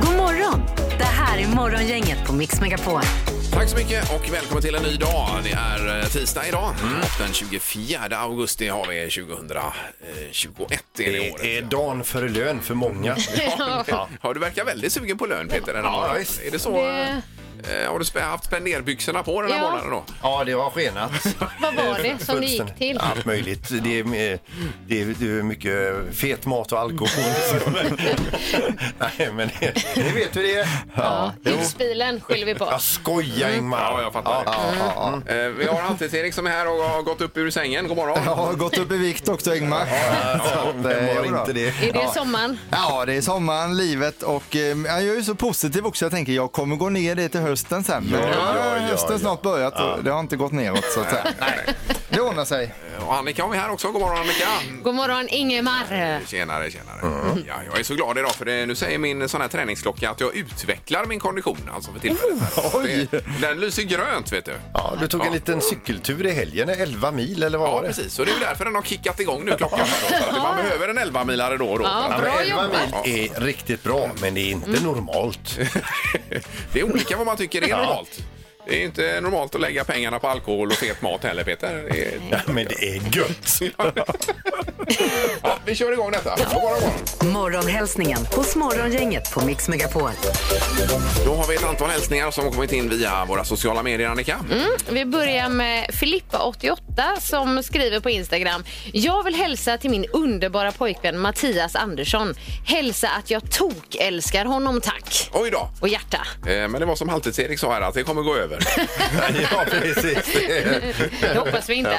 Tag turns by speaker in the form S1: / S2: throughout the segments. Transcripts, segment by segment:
S1: God morgon! Det här är Morgongänget på Mix Megapol.
S2: Tack så mycket och välkommen till en ny dag. Det är eh, tisdag idag och den 24 augusti har vi 2021 är det året.
S3: Det är dagen före lön för många.
S2: Ja. Ja, du verkar väldigt sugen på lön Peter. Den här
S3: Ja,
S2: morgonen.
S3: visst.
S2: Är det så? eh, Har du spe- haft spenderbyxorna på den här
S4: Ja.
S2: morgonen då?
S3: Ja, det har skenat.
S4: Vad var det som det gick
S3: Fullständigt.
S4: till?
S3: Allt möjligt. Det är, eh, det är, det är mycket fet mat och alkohol. Nej, men det, ni vet hur det är.
S4: Ja,
S3: Jo.
S4: husbilen skyller vi på.
S3: Jag skojar, Ingmar.
S2: Ja, jag fattar.
S3: Ja, ja, ja.
S2: Eh, Vi har Halvtids-Erik som är här och har gått upp ur sängen. God morgon.
S5: Jag har gått upp i vikt också Ingmar.
S3: Ja, vem har inte det?
S4: Är det sommaren?
S5: Ja, det är sommaren, livet och eh, jag är ju så positiv också. Jag tänker jag kommer gå ner det till hösten sen. Men nu har
S3: ja, ja,
S5: hösten
S3: ja.
S5: snart börjat och det har inte gått neråt så att säga. Det ordnar sig.
S2: Och Annika har vi här också. God morgon Annika.
S4: God morgon Ingemar!
S2: Tjenare, tjenare.
S3: Mm.
S2: Ja, jag är så glad idag för det, nu säger min sån här träningsklocka att jag utvecklar min kondition alltså för tillfället. här. Det, den lyser grönt vet du.
S3: Mm. Ja, du tog en liten cykeltur i helgen, 11 mil eller vad
S2: Ja,
S3: var det?
S2: precis. Och det är ju därför den har kickat igång nu klockan. Då, så att man behöver en 11-milare då och då.
S4: Ja,
S3: Ja, men
S4: bra
S3: 11
S4: jobbat! Mm.
S3: mil är riktigt bra, men det är inte normalt.
S2: Det är olika vad man tycker är normalt. Det är ju inte normalt att lägga pengarna på alkohol och fet mat heller, Peter. Det är...
S3: Ja, men det är gött.
S2: ja, vi kör igång detta. God morgon, god morgon.
S1: Morgonhälsningen hos Morgongänget på Mix Megapol.
S2: Då har vi ett antal hälsningar som har kommit in via våra sociala medier, Annika.
S4: Vi börjar med Filippa88 som skriver på Instagram. Jag vill hälsa till min underbara pojkvän Mattias Andersson. Hälsa att jag tok älskar honom tack.
S2: Oj då.
S4: Och hjärta.
S2: Eh, Men det var som Halvtids-Erik sa här, att det kommer gå över.
S3: Ja, precis.
S4: Det hoppas vi inte.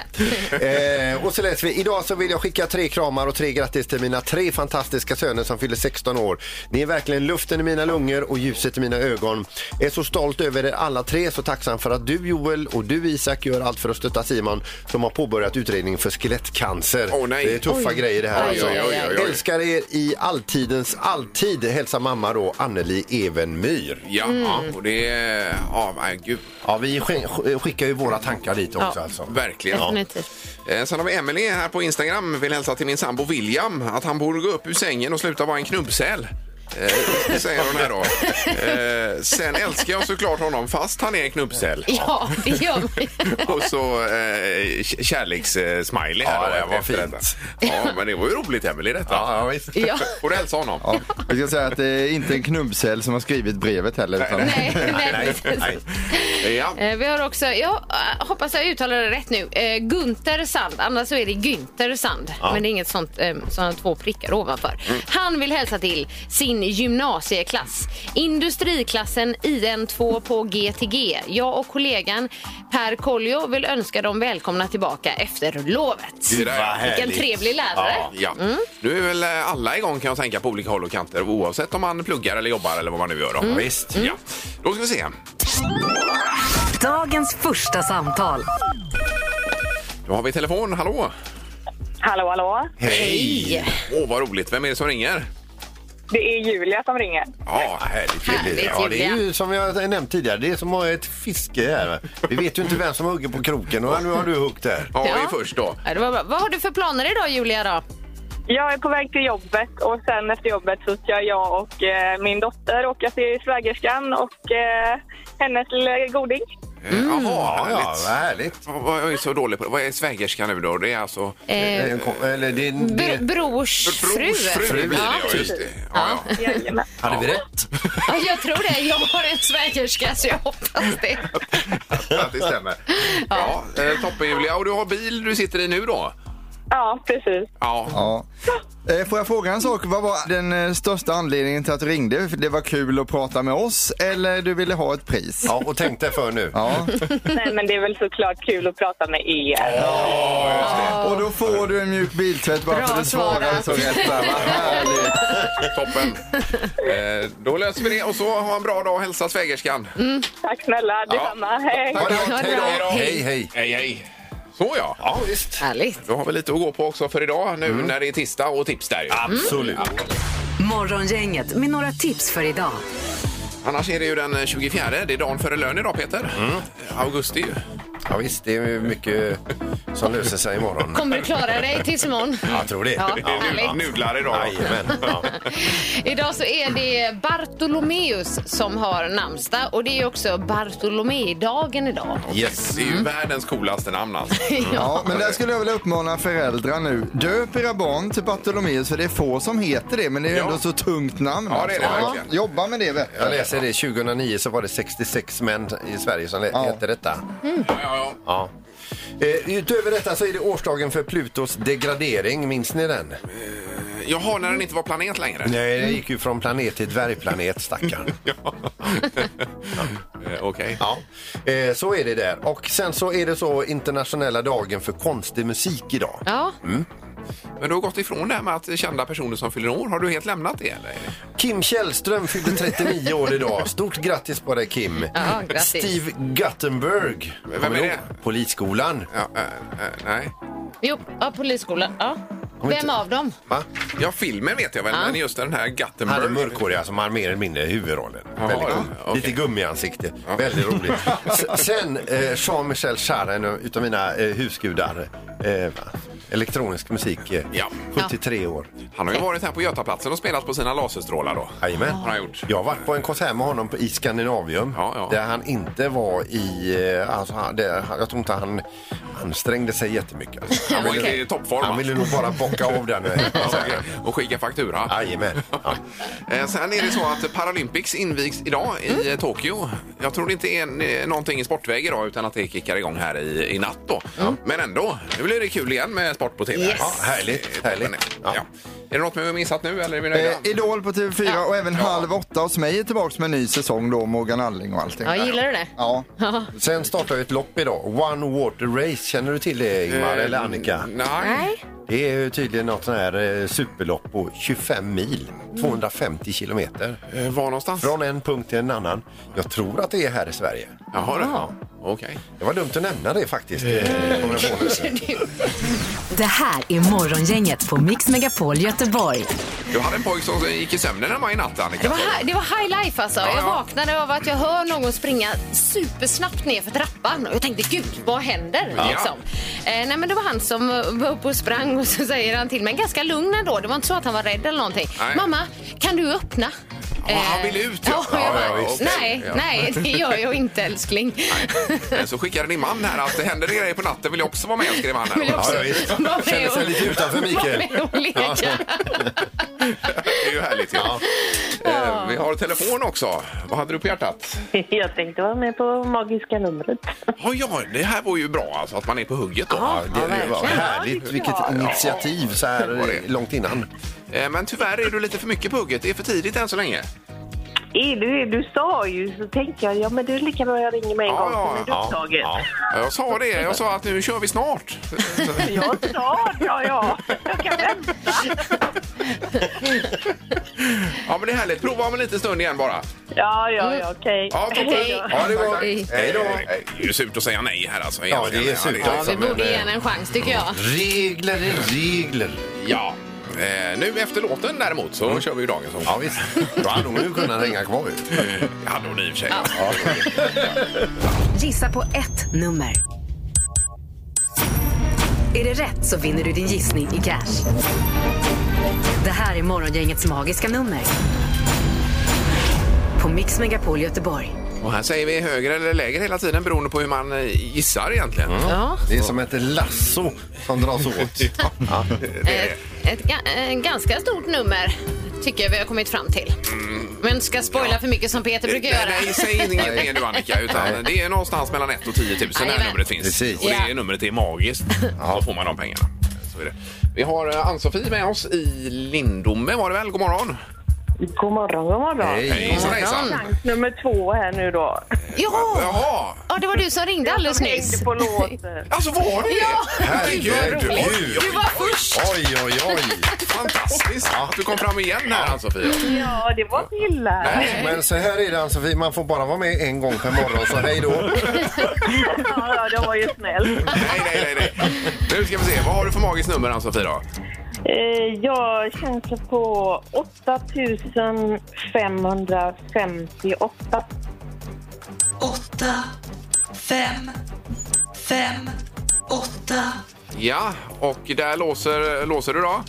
S3: Eh, och så läser vi. Idag så vill jag skicka tre kramar och tre grattis till mina tre fantastiska söner som fyller 16 år. Ni är verkligen luften i mina lungor och ljuset i mina ögon. Är så stolt över er alla tre, så tacksam för att du Joel och du Isak gör allt för att stötta Simon som har påbörjat utredningen för skelettcancer.
S2: Åh, nej.
S3: Det är tuffa grejer det här.
S4: Oj,
S3: alltså.
S4: oj, oj,
S2: oj, oj.
S3: Älskar er i alltidens alltid. Hälsar mamma då Anneli Evenmyr.
S2: Ja, ja, och det... Ja, men gud.
S3: Ja, vi sk- skickar ju våra tankar dit också alltså.
S2: Verkligen.
S4: Definitivt.
S2: Eh, Sen har vi Emily här på Instagram. Vill hälsa till min sambo William att han borde gå upp ur sängen och sluta vara en knubbsäl. Eh, säger hon här då. Eh, sen älskar jag såklart honom fast han är en knubbsäl.
S4: Ja, det gör man.
S2: Och så eh, k- kärleks-smiley
S3: Ja,
S2: här.
S3: det
S2: då,
S3: var
S2: efter
S3: fint.
S2: Ja, men det var ju roligt Emelie detta.
S3: Ja, ja, visst.
S4: Ja.
S2: Får du hälsa honom? Ja.
S5: Jag ska säga att det är inte en knubbsäl som har skrivit brevet heller. Utan
S4: Nej, nej, precis.
S3: Nej.
S4: Eh, Vi har också, jag eh, hoppas jag uttalar det rätt nu, eh, Gunter Sand. Annars så är det Günther Sand. Men det är inget sånt, eh, sådana två prickar ovanför. Han vill hälsa till sin gymnasieklass. Industriklassen IN2 på GTG. Jag och kollegan Per Koljo vill önska dem välkomna tillbaka efter lovet.
S2: Det där.
S4: Vilken trevlig lärare.
S2: Ja.
S4: Mm.
S2: Nu är väl eh, alla igång kan jag tänka på olika håll och kanter oavsett om man pluggar eller jobbar eller vad man nu gör. Då.
S4: Mm.
S2: Visst. Ja. Då ska vi se.
S1: Dagens första samtal.
S2: Då har vi telefon. Hallå!
S6: Hallå, hallå.
S4: Hej!
S2: Åh, vad roligt. Vem är det som ringer?
S6: Det är Julia som ringer.
S2: Ja, härligt.
S4: Härligt,
S3: Ja, det är
S4: Julia.
S3: ju som jag nämnt tidigare, det är som att ha ett fiske här. Vi vet ju inte vem som hugger på kroken och nu har du huggit där.
S2: Ja,
S4: Ja.
S2: vi är först då.
S4: Ja, det var bra. Vad har du för planer idag Julia då?
S6: Jag är på väg till jobbet och sen efter jobbet så ska jag och eh, min dotter åka till svägerskan och eh, hennes lilla goding.
S2: Mm. Jaha,
S3: Ja, ja,
S2: härligt.
S3: vad härligt.
S2: Vad- vad- Jag är så dålig på det. Vad är svägerska nu då? Det är alltså...
S4: Eh,
S3: Eh, kom- Eller det,
S4: bro,
S3: det,
S4: brors fru.
S2: Brorsfru blir det, ja. Just det. Ja, ja.
S6: Jajamän.
S3: hade vi rätt?
S4: Ja, jag tror det. Jag har en svägerska så jag hoppas det.
S3: Att det stämmer.
S2: ja. eh, Toppen, Julia. Och du har bil du sitter i nu då?
S6: Ja, precis.
S2: Ja.
S5: Ja. Eh, Får jag fråga en sak? Vad var den eh, största anledningen till att du ringde? För Det var kul att prata med oss eller du ville ha ett pris?
S3: Ja, och tänk dig för nu.
S5: Ja.
S6: Nej, men det är väl såklart kul att prata med er.
S5: Och då får du en mjuk biltvätt bara
S4: Bra
S5: för att du svarade
S4: svarat.
S5: så rätt. Där. Vad härligt.
S2: Toppen. Eh, då löser vi det och så ha en bra dag och hälsa svägerskan.
S3: Mm.
S6: Tack snälla, detsamma. Hej.
S3: Ha det
S2: Ha
S3: gott.
S2: det
S3: Hej
S2: bra.
S3: då. Hej, hej.
S2: Hej, hej. Så ja. ja visst. Mm.
S4: Härligt.
S2: Då har vi lite att gå på också för idag nu när det är tisdag och tips där ju.
S3: Absolut.
S1: Morgongänget med några tips för idag.
S2: Annars är det ju den 24, det är dagen före lön idag Peter. Augusti ju.
S3: Ja, visst, det är ju mycket som löser sig imorgon.
S4: Kommer du klara dig tills imorgon?
S3: Jag tror det.
S4: Ja.
S2: Det är
S4: Härligt.
S2: nu- nudlar idag.
S3: Jajamän.
S4: Idag så är det Bartolomeus som har namnsdag och det är ju också Bartolomédagen idag.
S3: Yes. Mm.
S2: Det är ju världens coolaste namn alltså.
S5: Ja, men där skulle jag vilja uppmana föräldrar nu. Döp era barn till Bartolomeus för det är få som heter det men det är ju
S2: Ja.
S5: ändå så tungt namn.
S2: Ja, det är det
S5: alltså.
S2: verkligen.
S5: Ja, Jobba med det vet
S3: Jag läser det. 2009 så var det 66 män i Sverige som
S5: Ja.
S3: hette detta.
S2: Ja, ja, ja.
S3: Ja. Eh, utöver detta så är det årsdagen för Plutos degradering. Minns ni den?
S2: Jaha, när den inte var planet längre.
S3: Nej, den gick ju från planet till dvärgplanet, stackarn.
S2: Ja. Eh, Okej.
S3: Ja, eh, så är det där. Och sen så är det så internationella dagen för konstig musik idag.
S4: Ja,
S2: Men du har gått ifrån det här med att kända personer som fyller år. Har du helt lämnat det eller?
S3: Kim Källström fyllde 39 år idag. Stort grattis på dig Kim.
S4: Ja, grattis.
S3: Steve Guttenberg.
S2: Vem
S3: Kommer
S2: är
S3: du
S2: det?
S3: ihåg? Polisskolan.
S2: Ja, eh, eh, nej.
S4: jo, ja, polisskolan. Ja.
S3: Kommer
S4: Vem
S3: inte-
S4: av dem?
S3: Va?
S2: Ja, filmen vet jag väl, men just den här
S3: Han är
S2: Guttenberg.
S3: mörkhåriga som har mer eller mindre huvudrollen.
S2: Jaha,
S3: Väldigt
S2: ja,
S3: cool.
S2: okej.
S3: Lite gummiansikte. Väldigt roligt. S- Sen eh, Jean-Michel Jarre, en utav mina eh, husgudar. Eh, va? elektronisk musik. Eh,
S2: Ja.
S3: 73 år.
S2: Han har ju varit här på Götaplatsen och spelat på sina laserstrålar då.
S3: Jajamän.
S2: Har han gjort.
S3: Jag har varit på en konsert med honom på- i Skandinavium
S2: Ja, ja.
S3: där han inte var i... eh, Alltså, han- det, han- jag tror inte han ansträngde sig jättemycket. Alltså.
S2: Han var inte i toppform.
S3: Han
S2: va?
S3: ville nog bara bocka av den.
S2: Ja, säkert. och skicka faktura.
S3: Jajamän. Ja.
S2: Eh, Sen är det så att Paralympics invigs idag i eh, Tokyo. Jag tror det inte är en, eh, någonting i sportväg idag utan att det kickar igång här i, i natt då. Men ändå, nu blir det kul igen med sport på TV.
S4: Yes.
S3: Ja, härligt.
S2: Toppen är-
S3: härligt.
S2: Ja.
S3: Ja.
S2: Är det något vi har missat nu eller är vi nöjda?
S5: Eh, Idol på TV4 och även Halv åtta hos mig är tillbaka med en ny säsong då, Morgan Alling och allting.
S4: Ja, gillar du det?
S5: Ja.
S3: Sen startar vi ett lopp idag. One Water Race. Känner du till det, Ingmar
S2: Eh,
S3: eller Annika?
S2: Nej.
S3: Det är ju tydligen något sånt här eh, superlopp på 25 mil, 250 kilometer.
S2: Eh, Var någonstans?
S3: Från en punkt till en annan. Jag tror att det är här i Sverige.
S2: Jaha, det. Ja. Okej.
S3: Det var dumt att nämna det faktiskt. Eh, kommer jag på nu.
S1: Det här är Morgongänget på Mix Megapol Göteborg.
S2: Du hade en pojk som gick i sömnen hemma i natt, Annika.
S4: Det var, hi- det var high life alltså.
S2: Ja,
S4: Jag
S2: ja.
S4: vaknade av att jag hör någon springa supersnabbt ner för trappan och jag tänkte gud, vad händer?
S2: Ja.
S4: Liksom. Eh, nej, men det var han som var uppe och sprang och så säger han till mig, ganska lugn ändå. Det var inte så att han var rädd eller någonting.
S2: Nej.
S4: Mamma, kan du öppna? Eh,
S2: Ja, han ville ut, ja.
S4: Ja, jag
S2: Ja,
S4: bara,
S2: ja, visst.
S4: nej,
S2: Ja.
S4: nej, det gör jag inte älskling.
S2: Eh, Så skickade din man här att det händer det grejer på natten vill jag också vara med, skrev han.
S4: Vill
S2: Här.
S4: jag också
S3: Ja, visst.
S4: vara med
S3: Känner sig
S4: och-
S3: lite utanför, Mikael.
S4: vara med och leka.
S2: Det är ju härligt. Ja. Eh, Vi har telefon också. Vad hade du på hjärtat?
S6: Jag tänkte vara med på magiska numret.
S2: Ja, ja, det här var ju bra alltså, att man är på hugget då.
S3: Ja, det var
S4: verkligen.
S3: härligt. Vilket initiativ så
S2: var
S3: här
S2: det.
S3: långt innan.
S2: Eh, Men tyvärr är du lite för mycket på hugget. Det är för tidigt än så länge.
S6: Är du, du sa ju, så tänkte jag, ja men det är lika bra jag ringer med en
S2: Ja,
S6: gång,
S2: ja,
S6: sen är du
S2: ja,
S6: upptagen.
S2: ja. Jag sa det. Jag sa att nu kör vi snart.
S6: Jag sa, ja ja, jag kan vänta.
S2: Ja, men det är härligt. Prova om en liten stund igen bara.
S6: Ja, ja,
S4: Mm.
S6: ja, okej.
S2: Ja, toppen.
S4: Hej.
S2: Ja, det var...
S4: Hej.
S2: Hej då. Eh, Det är ju surt att säga nej här alltså.
S3: Ja, det är surt.
S4: Ja, vi
S3: Som en,
S4: borde ge
S3: eh,
S4: henne en chans tycker jag.
S3: Regler är regler.
S2: Ja. Eh, Nu efter låten däremot så kör vi ju dagens omgång.
S3: Mm. Ja, visst. Då hade hon ju kunnat hänga kvar. ju.
S2: Det hade hon i och för sig.
S1: Gissa på ett nummer. Är det rätt så vinner du din gissning i cash. Det här är Morgongängets magiska nummer. På Mix Megapol Göteborg.
S2: Och här säger vi högre eller lägre hela tiden beroende på hur man eh, gissar egentligen.
S3: Mm.
S4: Ja.
S3: Det är som ett lasso som dras åt. Ja.
S4: Ett, ett, ga- eh, ganska stort nummer tycker jag vi har kommit fram till. Men ska spoila för mycket som Peter brukar göra.
S2: Eh, Nej, nej, säg inget mer nu Annika. Utan det är någonstans mellan 1 och 10 000 där
S4: Jajamän.
S2: numret finns.
S3: Precis.
S2: Och det
S4: Ja.
S2: numret är magiskt. Då får man de pengarna. Så Så är det. Vi har eh, Ann-Sofie med oss i Lindome var det väl? God morgon!
S6: God morgon, god morgon.
S2: Hejsan hejsan!
S6: Chans nummer två här nu då.
S4: Ja!
S2: Jaha!
S4: ja, det var du som ringde alldeles nyss.
S6: Hängde på låten.
S2: Alltså var det
S4: Ja.
S2: Herregud!
S4: Gud, vad roligt.
S2: Oj, oj,
S4: Du var
S2: oj.
S4: först.
S2: Oj, oj, oj! Fantastiskt att du kom fram igen här Ann-Sofie.
S6: Ja, det var inte illa.
S3: Men så här är det Ann-Sofie, man får bara vara med en gång per morgon, så hej då.
S6: Ja, ja, det var ju snällt.
S2: Nej, nej, nej, nej. Nu ska vi se. Vad har du för magiskt nummer Ann-Sofie då?
S6: Eh, Jag chansar på 8558.
S7: 8, 5, 5, 8.
S2: Ja, och där låser, låser du då?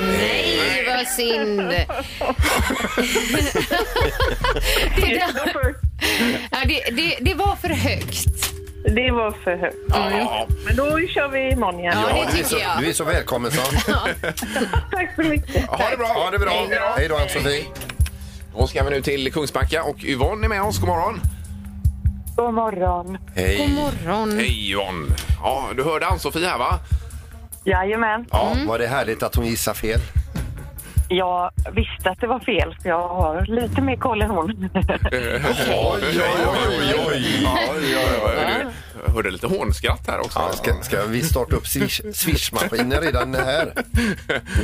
S4: Nej, vad synd. det, där, ja, det, det, det var för högt.
S6: Det var för högt.
S2: Ja, ja, ja.
S6: Men då kör vi imorgon igen.
S4: Ja, det
S3: Du är så,
S4: tycker jag.
S3: du är så välkommen så.
S6: Tack så mycket.
S2: Ha det bra!
S3: Ha det bra. Hej då Ann-Sofie.
S2: Då ska vi nu till Kungsbacka och Yvonne är med oss. God morgon!
S6: God morgon.
S4: God
S3: Hej.
S4: morgon.
S2: Hej Yvonne! Ja, du hörde Ann-Sofie här va?
S6: Jajamän.
S3: Ja, var det härligt att hon gissade fel?
S6: Jag visste att det var fel, för jag har lite mer koll än hon.
S2: Oj, oj, oj, oj! Ja, jag hörde, jag hörde lite hånskratt här också.
S3: Ja, ska, ska vi starta upp swish- swishmaskinen redan här?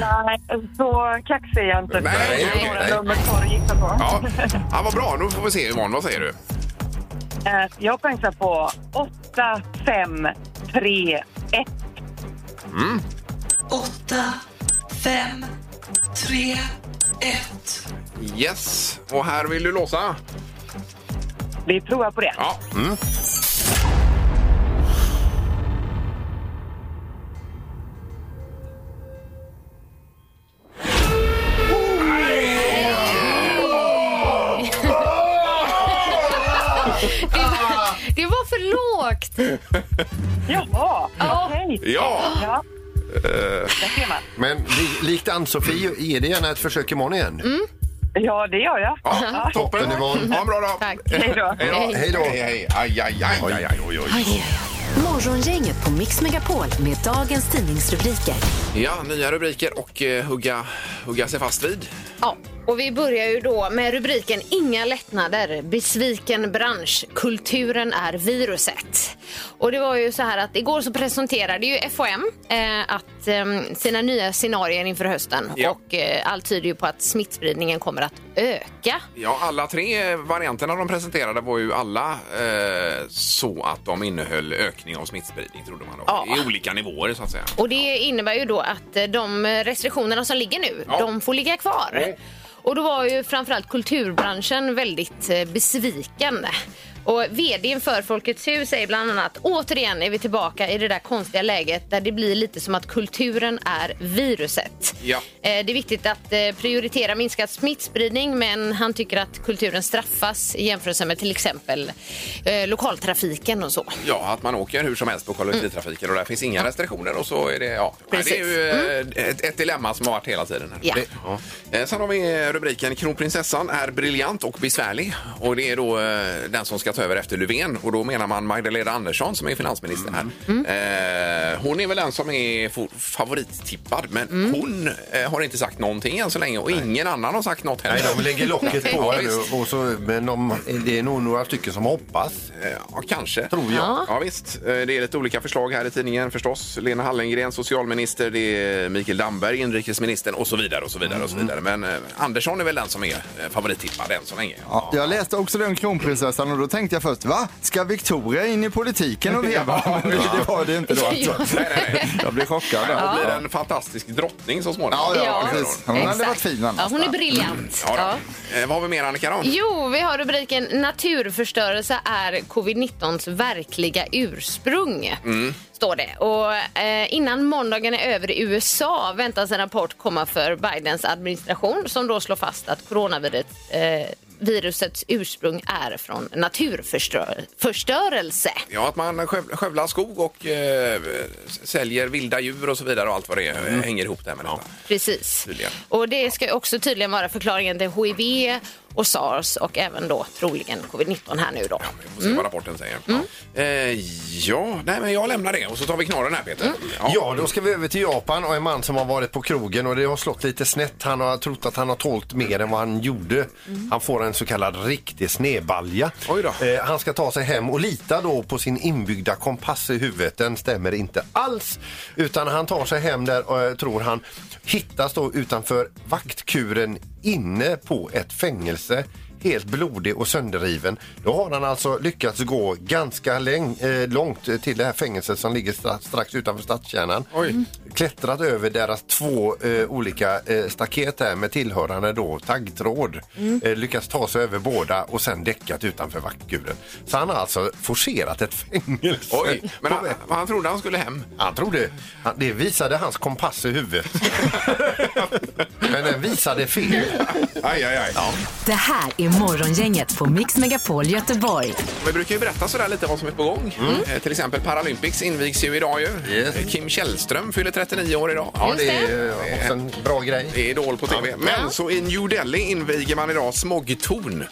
S6: Nej, så kaxig är jag inte.
S2: Nej,
S6: jag har
S2: okej, nej.
S6: ett nummer kvar att gissa på.
S2: Ja. ja, vad bra. Nu får vi se Yvonne, vad säger du?
S6: Eh, Jag chansar på 8, 5, 3, 1.
S7: 8, 5, 3, 1.
S2: Yes, och här vill du låsa? Mm.
S6: Vi provar på det.
S2: Ja.
S4: Det var, det var för lågt.
S6: Jaha, okej.
S2: Ja!
S6: Ja. Där ser man.
S3: Men li, likt Ann-Sofie, ge det gärna ett försök imorgon igen.
S6: Ja, det gör jag.
S2: Ja, toppen
S3: Yvonne.
S2: Ha en bra dag.
S4: Tack.
S6: Hej då.
S2: Hej då.
S3: Hej då.
S2: Hej, hej. Aj, aj, aj, aj, aj, oj, oj.
S1: Morgongänget på Mix Megapol med dagens tidningsrubriker.
S2: Ja, nya rubriker och eh, hugga, hugga sig fast vid.
S4: Ja, och vi börjar ju då med rubriken Inga lättnader. Besviken bransch. Kulturen är viruset. Och det var ju så här att igår så presenterade ju FHM eh, att eh, sina nya scenarier inför hösten
S2: Ja.
S4: och eh, allt tyder ju på att smittspridningen kommer att öka.
S2: Ja, alla tre varianterna de presenterade var ju alla eh, så att de innehöll ökning av smittspridning trodde man då.
S4: Ja.
S2: I olika nivåer så att säga.
S4: Och det innebär ju då att eh, de restriktionerna som ligger nu,
S2: Ja.
S4: de får ligga kvar.
S2: Mm.
S4: Och då var ju framförallt kulturbranschen väldigt eh, besviken. Och vdn för Folkets hus säger bland annat återigen är vi tillbaka i det där konstiga läget där det blir lite som att kulturen är viruset.
S2: Ja.
S4: Eh, Det är viktigt att eh, prioritera minskad smittspridning men han tycker att kulturen straffas i jämförelse med till exempel eh, lokaltrafiken och så.
S2: Ja, att man åker hur som helst på kollektivtrafiken och där finns inga restriktioner och så är det, ja. Nej, Det är ju eh, ett, ett dilemma som har varit hela tiden. Här.
S4: Ja.
S2: Det, Eh, Sen har vi rubriken Kronprinsessan är briljant och besvärlig och det är då eh, den som ska ta över efter Löfven och då menar man Magdalena Andersson som är finansminister här. Eh, Hon är väl den som är fo- favorittippad men hon eh, har inte sagt någonting än så länge och ingen annan har sagt något
S3: Nej,
S2: heller.
S3: de lägger locket på här nu. Och så, men de, det är nog några stycken som hoppas.
S2: Eh, Ja, kanske.
S3: Tror jag.
S2: Ja. visst. Eh, Det är lite olika förslag här i tidningen förstås. Lena Hallengren, socialminister, det är Mikael Damberg, inrikesministern och så vidare och så vidare och så vidare. Men eh, Andersson är väl den som är eh, favorittippad än så länge.
S5: Mm. Ja, jag läste också den kronprinsessan och då tänkte jag först, va? Ska Victoria in i politiken och veva? Men det var det inte då alltså.
S2: Nej, nej, nej.
S5: Jag blev chockad.
S2: Det
S5: där.
S2: blir en fantastisk drottning så småningom.
S5: Ja, ja, precis. Hon hade
S4: exakt.
S5: varit fin annars,
S4: ja, Hon är
S5: va?
S4: briljant.
S2: Ja, då.
S4: Ja.
S2: Eh, Vad har vi mer, Annika? Då?
S4: Jo, vi har rubriken Naturförstörelse är covid-19s verkliga ursprung.
S5: Mm.
S4: Står det. Och eh, innan måndagen är över i USA väntas en rapport komma för Bidens administration som då slår fast att coronaviruset eh, virusets ursprung är från naturförstörelse.
S2: Ja, att man sköv- skövlar skog och eh, s- säljer vilda djur och så vidare och allt vad det är,
S5: Mm.
S2: hänger ihop där med detta.
S4: Precis.
S2: Tydligen.
S4: Och det ska ju också tydligen vara förklaringen till HIV och sars och även då troligen covid-19 här nu då.
S2: Ja, vi får se
S5: Mm.
S2: vad rapporten säger. Ja. Eh, ja, nej men jag lämnar det och så tar vi knorren här
S5: Mm.
S2: Peter.
S3: Ja, då ska vi över till Japan och en man som har varit på krogen och det har slått lite snett. Han har trott att han har tålt mer än vad han gjorde. Han får en så kallad riktig snedbalja.
S2: Mm. Oj då.
S3: Eh, han ska ta sig hem och lita då på sin inbyggda kompass i huvudet. Den stämmer inte alls. Utan han tar sig hem där, och, eh, tror han, hittas då utanför vaktkuren inne på ett fängelse helt blodig och sönderriven. Då har han alltså lyckats gå ganska läng- eh, långt till det här fängelset som ligger stra- strax utanför stadskärnan.
S2: Oj.
S3: Klättrat över deras två eh, olika eh, staket här med tillhörande då taggtråd. Eh, lyckats ta sig över båda och sen däckat utanför vaktkuren. Så han har alltså forcerat ett fängelse.
S2: Oj, men
S3: På
S2: han,
S3: vä-
S2: han trodde han skulle hem.
S3: han trodde, han, det visade hans kompass i huvudet. Men den visade fel.
S2: Aj, aj, aj.
S1: Det här är Morgongänget på Mix Megapol Göteborg.
S2: Vi brukar ju berätta sådär lite vad som är på gång. Eh, till exempel Paralympics invigs ju idag ju.
S3: Yes.
S2: Eh, Kim Källström fyller 39 år idag. Ja,
S4: Just
S3: Det är eh, också en bra grej.
S2: Det är Idol på tv. Men så i New Delhi inviger man idag Smogtorn.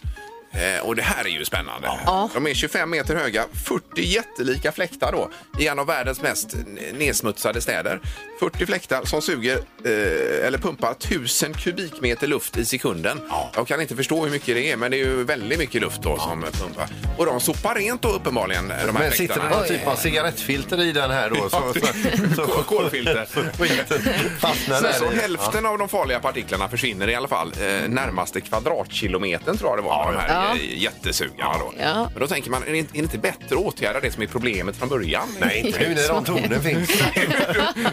S2: Eh, Och det här är ju spännande. De är 25 meter höga, 40 jättelika fläktar då i en av världens mest n- nedsmutsade städer. 40 fläktar som suger eh, eller pumpar 1000 kubikmeter luft i sekunden. Jag kan inte förstå hur mycket det är, men det är ju väldigt mycket luft då som pumpar. Och de sopar rent då uppenbarligen, de här
S3: Men
S2: fläktarna.
S3: sitter det någon typ av cigarettfilter i den här då? Så, så,
S2: Kol-
S3: så
S2: Kolfilter.
S3: skiten fastnar
S2: Så,
S3: där.
S2: så
S3: i.
S2: hälften av de farliga partiklarna försvinner i alla fall eh, närmaste kvadratkilometern tror jag det var med de här
S4: Ja.
S2: eh, jättesugarna då.
S4: Ja.
S2: Men då tänker man, är det, inte, är det inte bättre att åtgärda det som är problemet från början?
S3: Nej, inte nu när de tonen finns.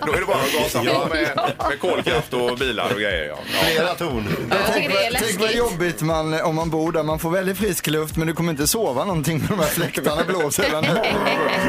S2: då är det bara att gasa på med, med kolkraft och bilar och grejer. Ja.
S3: Flera ton.
S4: Jag tycker det är
S5: Tänk vad
S4: läskigt.
S5: jobbigt man, om man bor där man får väldigt frisk luft men du kommer inte sova någonting när de här fläktarna blåser. Eller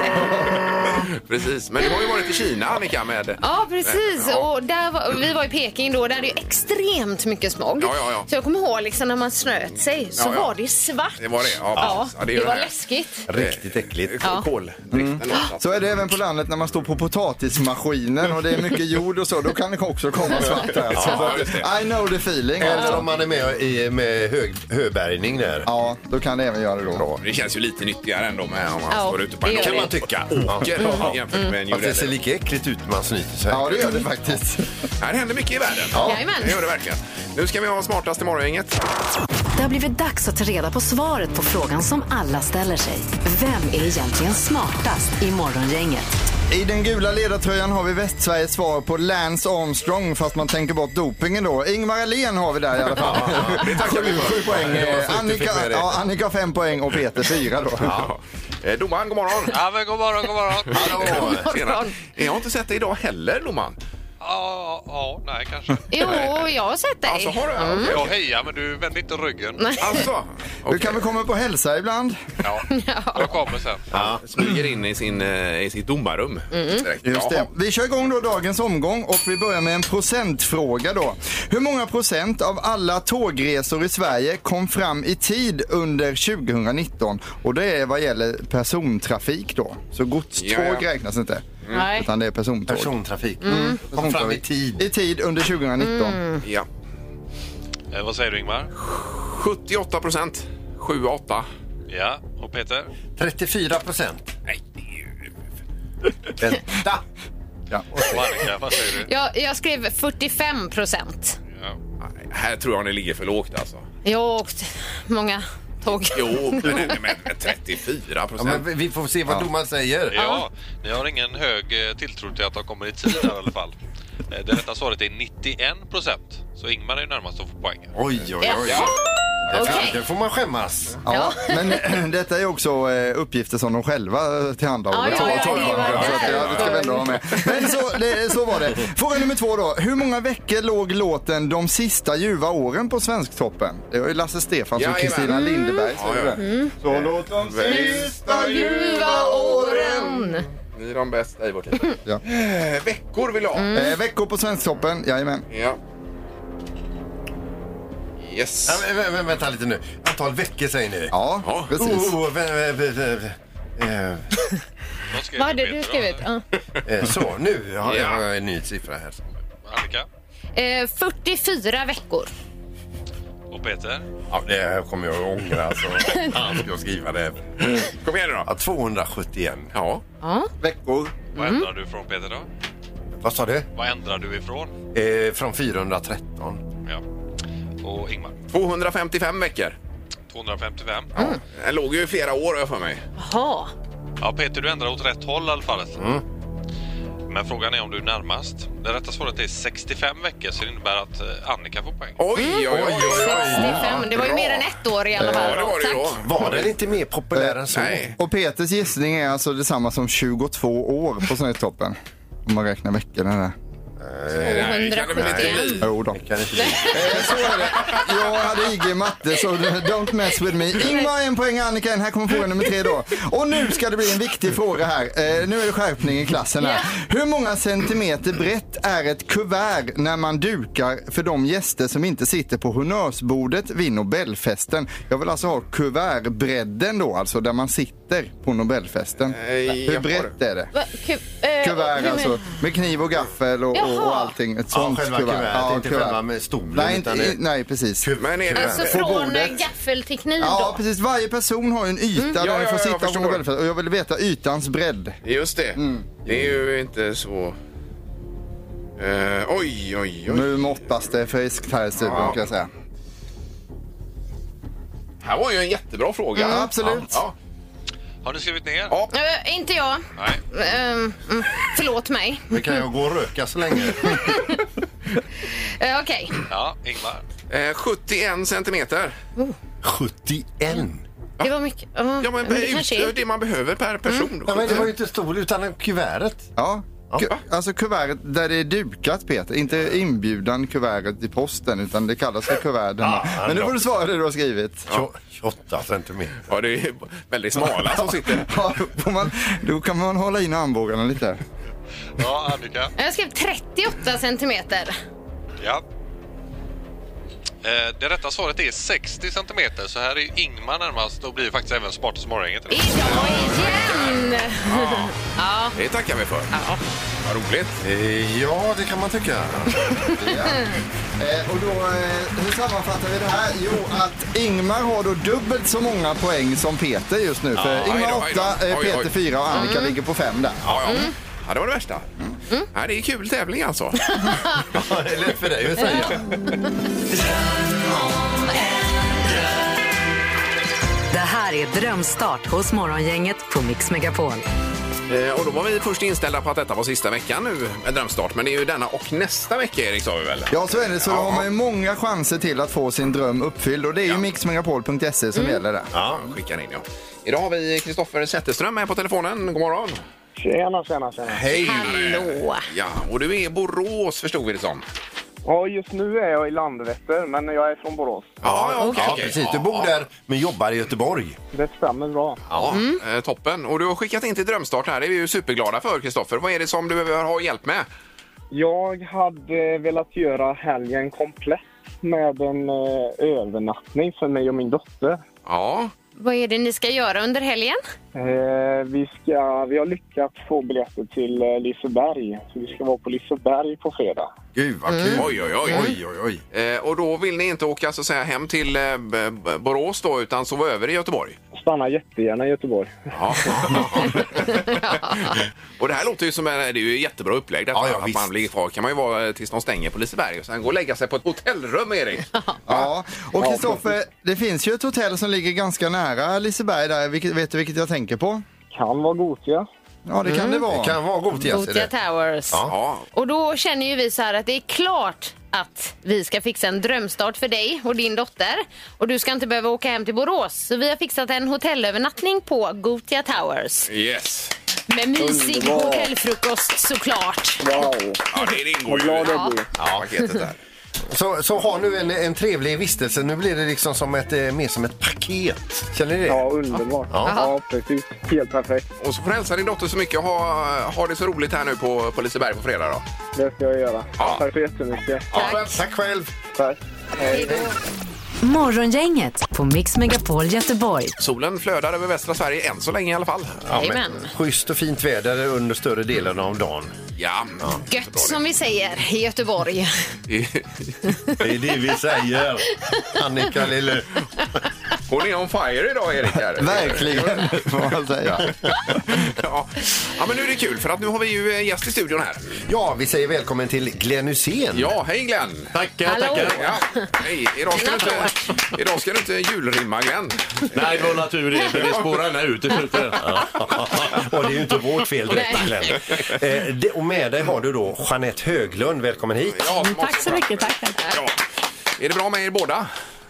S2: Ja, precis. Men du har ju varit i Kina Annika med...
S4: Ja, precis.
S2: Ja.
S4: Och där var, vi var i Peking då, där det är extremt mycket smog.
S2: Ja, ja, ja.
S4: Så jag kommer ihåg liksom, när man snöt sig så
S2: Ja, ja.
S4: var det svart.
S2: Det var det, ja, precis. Ja, det
S4: det,
S2: är ju
S4: var
S2: det här.
S4: läskigt.
S3: Riktigt äckligt.
S4: Ja.
S2: Koldriften. då,
S5: Så är det även på landet när man står på potatismaskinen och det är mycket jord och så. Då kan det också komma svart där. Så
S2: Ja, just det.
S5: att- I know the feeling.
S3: Eller om man är med i med hög, höbärgning där.
S5: Ja, då kan det även göra det då.
S2: Det känns ju lite nyttigare ändå med om man
S4: Ja, Mm.
S2: står ute på
S4: det
S2: en
S4: gör
S2: kan
S4: det.
S2: man tycka. Åker jämfört med en
S3: Fast det ser
S2: jordägare.
S3: lika äckligt ut när man snyter sig.
S5: Ja, det gör det faktiskt.
S2: Här händer mycket i världen.
S4: Jajamän.
S2: Det gör det verkligen. Nu ska vi ha smartast i morgongänget.
S1: Det har blivit dags att ta reda på svaret på frågan som alla ställer sig. Vem är egentligen smartast i Morgongänget?
S5: I den gula ledartröjan har vi Västsveriges svar på Lance Armstrong fast man tänker bort dopingen då. Ingmar Ahlén har vi där i alla fall.
S2: Det tackar vi för.
S5: Sju poäng.
S3: det var snyggt du
S5: Annika,
S3: fick med det.
S5: ja, Annika har fem poäng och Peter fyra då.
S2: Ja. Eh, Domaren, god morgon!
S7: Ja, men god morgon, god morgon.
S2: Hallå! Tjena.
S4: morgon.
S2: Jag har inte sett dig idag heller, domaren.
S7: Ja, ja, nej kanske.
S4: Jo, jag har sett dig.
S2: Alltså, har du? Mm.
S7: Jag hejar, men du vänder inte ryggen.
S2: Alltså,
S5: Du kan väl komma upp och hälsa ibland?
S7: Ja, jag kommer sen.
S2: ja. smyger in i, sin, eh, i sitt domarrum.
S4: Mm.
S2: direkt.
S5: Just
S2: Jaha.
S5: det. Vi kör igång då dagens omgång och vi börjar med en procentfråga då. Hur många procent av alla tågresor i Sverige kom fram i tid under 2019? Och det är vad gäller persontrafik då. Så godståg
S2: Ja, ja.
S5: räknas inte.
S4: Nej.
S5: Utan det är persontåg.
S3: Persontrafik. Mm. Kom fram i tid.
S5: I tid under 2019.
S4: Mm.
S2: Ja.
S7: Eh, vad säger du Ingmar?
S2: 78 procent. 7 8.
S7: Ja, och Peter?
S3: 34 procent.
S2: Nej, det är ju...
S3: Vänta!
S7: Och Annika, vad säger du?
S4: Jag, jag skrev 45 procent.
S7: Ja.
S2: Nej, Här tror jag ni ligger för lågt alltså.
S4: Jag har åkt många tåg.
S2: Jo, men, men, men 34
S3: Ja, men
S2: procent.
S3: vi- vi får se vad domaren säger.
S7: ja, ni har ingen hög eh, tilltro till att de kommer i tid här i alla fall. Eh, Det rätta svaret är 91 procent. Så Ingmar är ju närmast att få poäng.
S3: Oj, oj, oj.
S4: Ja. Okej.
S3: Det får man skämmas.
S5: Ja, men detta är också eh, uppgifter som de själva eh, tillhandahåller.
S4: Ja, ja, ja,
S5: Så-
S4: det var
S5: så att,
S4: där.
S5: ja, det ska vi ändå ha med. Men så, det, så var det. Fråga nummer två då. Hur många veckor låg låten De sista ljuva åren på Svensktoppen? Det var ju Lasse Stefans och
S2: Jajamän. Mm.
S5: Kristina Lindeberg. som
S2: Ja,
S5: gjorde
S2: ja.
S5: det. Så låt de sista
S4: Ljuva åren.
S2: Ni är de bästa i vårt liv.
S5: Ja.
S2: Eh, Veckor vill jag
S4: Mm.
S2: ha.
S5: Eh, veckor på Svensktoppen, jajamän.
S2: Ja. Yes.
S3: Ja, men, vä- vä- vänta lite nu. Antal veckor säger ni.
S5: Ja,
S2: Ja.
S5: precis.
S3: Oh, vä- vä- vä- vä-
S7: Vad, skrev
S4: Vad hade du
S7: Peter då?
S4: skrivit? Ja.
S3: eh, eh, Så, nu har jag
S2: Ja.
S3: har jag en ny siffra här.
S7: Annika?
S4: Eh, 44 veckor.
S7: Och Peter?
S8: Ja, det här kommer jag att ångra. Alltså. Fan, ska jag skriva det?
S2: Kom igen nu då.
S8: Ja, 271.
S2: Ja.
S4: Ja.
S8: Veckor.
S7: Vad
S4: Mm.
S7: ändrar du från Peter då?
S8: Vad sa du?
S7: Vad ändrar du ifrån?
S8: Eh, från 413.
S7: Ja. Och Ingmar?
S2: 255 veckor.
S7: 255.
S2: Den låg ju i flera år har jag för mig.
S4: Jaha.
S7: Ja, Peter, du ändrar åt rätt håll i alla fall. Men frågan är om du är närmast. Det rätta svaret är 65 veckor, så det innebär att eh, Annika får poäng.
S2: Oj, oj, oj. oj, oj.
S4: 65. Det var ju mer än ett år i alla fall.
S2: Ja, det var det ju
S4: Tack.
S2: då.
S3: Var den inte mer populär än så?
S2: Nej.
S5: Och Peters gissning är alltså detsamma som 22 år på Snötoppen. Om man räknar veckorna där.
S2: Nej, det kan det väl inte
S4: 171.
S2: bli.
S5: Jo då.
S3: Kan inte det?
S5: Eh, så är det. Jag hade IG i matte så don't mess with me. Ingmar en poäng, Annika en. Här kommer fråga nummer tre då. Och nu ska det bli en viktig fråga här. Eh, nu är det skärpning i klassen här. Hur många centimeter brett är ett kuvert när man dukar för de gäster som inte sitter på honnörsbordet vid Nobelfesten? Jag vill alltså ha kuvertbredden då, alltså där man sitter på Nobelfesten.
S3: Eh,
S5: Hur
S2: jag
S5: brett är det?
S4: Va, ku, eh,
S5: Kuvert
S4: hur-
S5: alltså, med kniv och gaffel och, och, och
S4: Jaha.
S5: allting. Ett
S3: Ja,
S5: sånt
S3: själva
S5: kuvert.
S3: kuvertet,
S5: Ja,
S3: inte
S5: kuvert.
S3: själva med stolen.
S5: Nej,
S3: utan
S5: inte,
S3: det...
S5: nej precis.
S2: Men är det...
S4: Alltså
S5: På
S4: från
S5: bordet.
S4: gaffel till kniv
S5: Ja,
S4: då?
S5: precis. Varje person har ju en yta där
S2: Ja,
S5: den
S2: ja,
S5: får
S2: ja, jag
S5: sitta på
S2: förstår.
S5: Nobelfesten. Och jag vill veta ytans bredd.
S2: Just det. Det är ju inte så... Eh, oj, oj, oj.
S5: Nu måttas det friskt här i studion kan jag säga.
S2: här var ju en jättebra fråga.
S5: Mm, absolut.
S2: Ja,
S7: Har ni skrivit ner?
S2: Ja.
S4: Eh, inte jag.
S7: Nej.
S4: Ehm, mm, förlåt mig.
S3: Vi kan ju gå och röka så länge.
S4: Eh, Okej.
S7: Ja, Ingmar.
S2: ja. Eh, 71 centimeter.
S3: 71.
S4: Det var mycket. Ja,
S2: Ja, men,
S4: det kanske
S2: det,
S4: är.
S2: det man behöver per person. då.
S3: Ja, men det var ju inte stol utan kuvertet.
S5: Ja.
S3: Ja.
S5: Ku- Alltså kuvertet där det är dukat Peter, inte inbjudan kuvertet i posten utan det kallas för kuvertet.
S3: Ja,
S5: Men nu får
S3: bra.
S5: du svara det du har skrivit.
S3: Ja. 28 centimeter.
S2: Ja, det är väldigt smala som sitter.
S5: Ja, då, får man, då kan man hålla in armbågarna lite.
S7: Ja, Annika.
S4: Jag skrev 38 centimeter.
S7: Ja. Eh, Det rätta svaret är 60 centimeter, så här är ju Ingmar närmast och blir faktiskt även smartast i morgongänget. idag.
S4: Idag igen!
S2: Det tackar vi för. Ja. Vad roligt.
S3: Eh, Ja, det kan man tycka.
S5: Eh, och då, eh, hur sammanfattar vi det här? Jo, att Ingmar har då dubbelt så många poäng som Peter just nu. För
S2: Ja,
S5: Ingmar
S2: oj då, oj
S5: 8,
S2: då.
S5: eh,
S2: Oj, oj.
S5: Peter 4 och Annika ligger på 5 där.
S2: Ja, ja.
S3: Mm.
S2: ja, det var det värsta. Ja, det är kul tävling alltså.
S3: Ja, det är lätt för dig att säga.
S1: Det här är Drömstart hos Morgongänget på Mix Megapol.
S2: Eh, och då var vi först inställda på att detta var sista veckan nu med drömstart. Men det är ju denna och nästa vecka, Erik, sa vi väl?
S5: Ja, så är det. Så då har man ju många chanser till att få sin dröm uppfylld och det är ju mixmegapol.se som gäller där.
S2: Ja, skicka in ja. Idag har vi Kristoffer Zetterström med på telefonen. God morgon!
S6: Tjena, tjena, tjena.
S2: Hej!
S4: Hallå.
S2: Ja, och du är i Borås förstod vi det som.
S6: Ja, just nu är jag i Landvetter, men jag är från Borås.
S2: Ja, ja, okej,
S3: Ja,
S2: okej.
S3: precis. Du
S2: Ja,
S3: bor där men jobbar i Göteborg.
S6: Det stämmer bra.
S2: Ja, eh, toppen. Och du har skickat in till Drömstart här. Det är vi ju superglada för, Kristoffer. Vad är det som du behöver ha hjälp med?
S6: Jag hade velat göra helgen komplett med en eh, övernattning för mig och min dotter.
S2: Ja,
S4: Vad är det ni ska göra under helgen?
S6: Eh, vi, ska, vi har lyckats få biljetter till eh, Liseberg, så vi ska vara på Liseberg på fredag.
S3: Gud vad kul.
S2: oj, oj, oj.
S3: Oj, oj, oj.
S2: Eh, och då vill ni inte åka så att säga, hem till eh, B- B- Borås då, utan sova över i Göteborg?
S6: Stanna jättegärna i Göteborg.
S2: Ja. och det här låter ju som en, det är ju ett jättebra upplägg. Detta,
S3: Ja, ja,
S2: att
S3: visst.
S2: man blir kvar kan man ju vara eh, tills de stänger på Liseberg och sen gå och lägga sig på ett hotellrum, Erik.
S5: Ja, och Kristoffer, det finns ju ett hotell som ligger ganska nära Liseberg där. Vilket, vet du vilket jag tänker på?
S6: Kan vara Gothia.
S5: Ja, det kan det vara.
S3: Det Mm. kan vara god yes,
S4: Gothia Towers.
S2: Ja,
S4: Och då känner ju vi så här att det är klart att vi ska fixa en drömstart för dig och din dotter. Och du ska inte behöva åka hem till Borås. Så vi har fixat en hotellövernattning på Gothia Towers.
S2: yes.
S4: Med mysig
S6: Underbart.
S4: hotellfrukost såklart.
S6: Wow!
S2: Ja, det, det ingår ju
S6: Glad
S2: i
S6: jag blir.
S2: ja, paketet där.
S3: Så, så har nu en, en trevlig vistelse. Nu blir det liksom som ett, eh, mer som ett paket. Känner ni det?
S6: Ja, underbart.
S3: Ja.
S6: Ja, precis. Helt perfekt.
S2: Och så får du hälsa din dotter så mycket och ha, ha det så roligt här nu på, på Liseberg på fredag då.
S6: Det ska jag göra.
S2: Ja.
S6: Tack så jättemycket.
S3: Tack. Tack själv.
S6: Tack. Hej.
S1: Morgongänget på Mix Megapol Göteborg.
S2: Solen flödar över västra Sverige än så länge i alla fall.
S3: Ja, men,
S4: Jajamän.
S3: schysst och fint väder under större delen av dagen.
S2: Ja.
S4: Gött som vi säger i Göteborg.
S3: Det är det vi säger. Annika Lille.
S2: Hon är on fire idag, Erik. Här.
S5: Verkligen, får man säga.
S2: ja. ja, men nu är det kul för att nu har vi ju en gäst i studion här.
S3: Ja, vi säger välkommen till Glenn Hussein.
S2: Ja, hej Glenn!
S8: Tackar,
S4: Hallå.
S8: tackar.
S2: Ja, hej. Idag, ska du inte, idag ska du inte julrimma Glenn.
S8: Nej, det var natur det, för det spårade ut i slutet.
S3: Och det är ju inte vårt fel direkt Glenn. Eh, det- Och med dig har du då Jeanette Höglund. Välkommen hit.
S2: Ja, som
S9: Mm, Tack
S2: också-
S9: så mycket, tack, tack.
S2: Ja. Är det bra med er båda?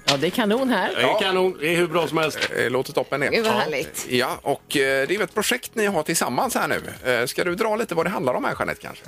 S9: Ja, det är kanon här.
S8: Det är kanon, det är hur bra som helst.
S2: Eh, Låter toppen det.
S4: Gud vad härligt.
S2: Ja, och eh, det är ju ett projekt ni har tillsammans här nu. Eh, Ska du dra lite vad det handlar om här Jeanette kanske?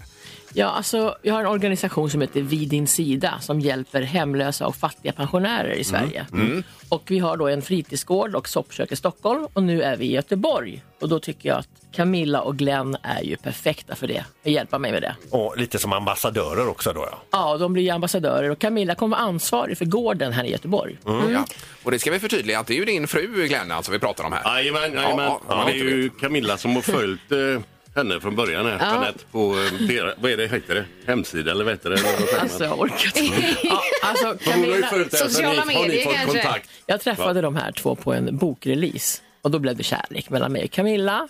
S9: Ja, alltså, jag har en organisation som heter Vid din sida som hjälper hemlösa och fattiga pensionärer i Sverige.
S8: Mm.
S9: Och vi har då en fritidsgård och soppkök i Stockholm och nu är vi i Göteborg. Och då tycker jag att Camilla och Glenn är ju perfekta för det. Att hjälpa mig med det.
S3: Och lite som ambassadörer också då. Ja.
S9: Ja, de blir ju ambassadörer och Camilla kommer vara ansvarig för gården här i Göteborg.
S8: Mm.
S2: Ja. Och det ska vi förtydliga att det är ju din fru Glenn alltså vi pratar om här.
S8: Jajamän, jajamän.
S2: Ja, ja, man
S8: det är
S2: vet
S8: ju Camilla som har följt eh, henne från början här, Jeanette, på eh, deras, vad är det, heter det? hemsida eller vad heter det?
S9: Alltså, jag orkar inte. Ja, alltså,
S8: Hon har ju
S9: Camilla,
S8: följt det, så
S4: sociala
S8: ni, har ni
S4: medier
S8: fått
S4: kanske?
S8: kontakt?
S9: Jag träffade de här två på en bokrelease och då blev det kärlek mellan mig och Camilla.